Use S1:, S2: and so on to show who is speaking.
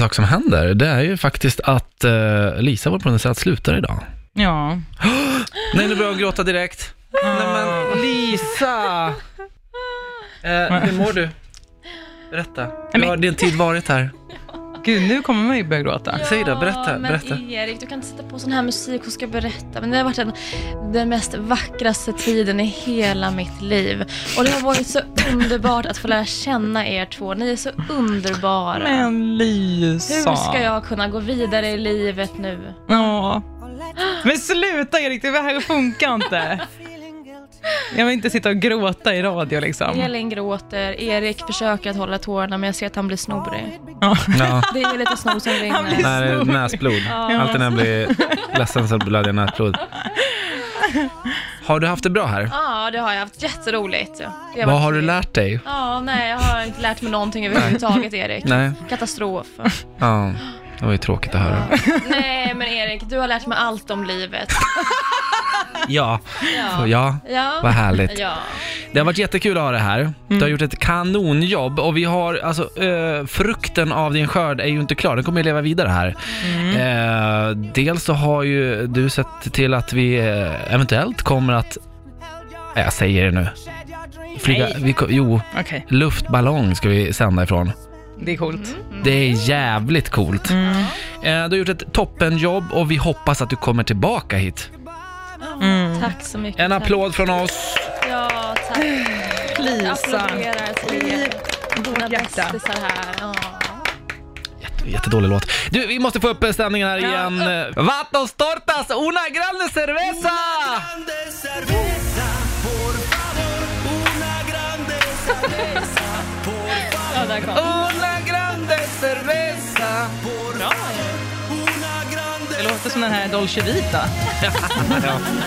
S1: sak som händer, det är ju faktiskt att eh, Lisa, vår producent, slutar idag.
S2: Ja.
S1: Nej, nu börjar jag gråta direkt. Nej men Lisa! Eh, hur mår du? Berätta. Hur har din tid varit här?
S2: Gud, nu kommer man ju börja gråta.
S1: Säg då, berätta,
S3: Ja, men
S1: berätta.
S3: Erik, du kan inte sätta på sån här musik och ska berätta. Men det har varit den, den mest vackraste tiden i hela mitt liv. Och det har varit så underbart att få lära känna er två. Ni är så underbara.
S2: Men Lisa.
S3: Hur ska jag kunna gå vidare i livet nu?
S2: Ja. Men sluta Erik, det här funkar inte. Jag vill inte sitta och gråta i radio liksom.
S3: Elin gråter, Erik försöker att hålla tårarna men jag ser att han blir snorig.
S2: Ja.
S1: Ja.
S3: Det är lite snor som
S2: blir-
S3: rinner.
S1: Nej, det är näsblod. Alltid när jag blir ledsen så blöder jag näsblod. Har du haft det bra här?
S3: Ja, det har jag haft jätteroligt. Det
S1: Vad
S3: varit-
S1: har du lärt dig?
S3: Ja, nej, jag har inte lärt mig någonting överhuvudtaget, Erik.
S1: Nej.
S3: Katastrof.
S1: Ja, det var ju tråkigt att höra.
S3: Nej, men Erik, du har lärt mig allt om livet.
S1: Ja,
S3: Ja.
S1: ja.
S3: Ja.
S1: Vad härligt.
S3: Ja.
S1: Det har varit jättekul att ha det här. Du har gjort ett kanonjobb och vi har, alltså eh, frukten av din skörd är ju inte klar, den kommer ju leva vidare här. Eh, dels så har ju du sett till att vi eh, eventuellt kommer att, eh, jag säger det nu, flyga, vi, ko- jo,
S2: Okej,
S1: luftballong ska vi sända ifrån.
S2: det är
S3: Mm.
S2: coolt.
S1: Det är jävligt coolt. Eh, du har gjort ett toppenjobb och vi hoppas att du kommer tillbaka hit.
S3: Tack så mycket.
S1: En
S3: tack.
S1: applåd från oss.
S3: Ja, tack.
S2: Lisa.
S3: Applåderar till er. Mina
S2: hjärta.
S3: bästisar här. Ja.
S1: Jätte, jättedålig låt. Du, vi måste få upp eh, stämningen här igen. Eh, Vatos tortas, una grande cerveza!
S4: grande cerveza, por favor, una grande cerveza, por favor,
S1: Una grande cerveza!
S4: una grande
S2: Det låter som den här Dolce Vita.
S1: Ja.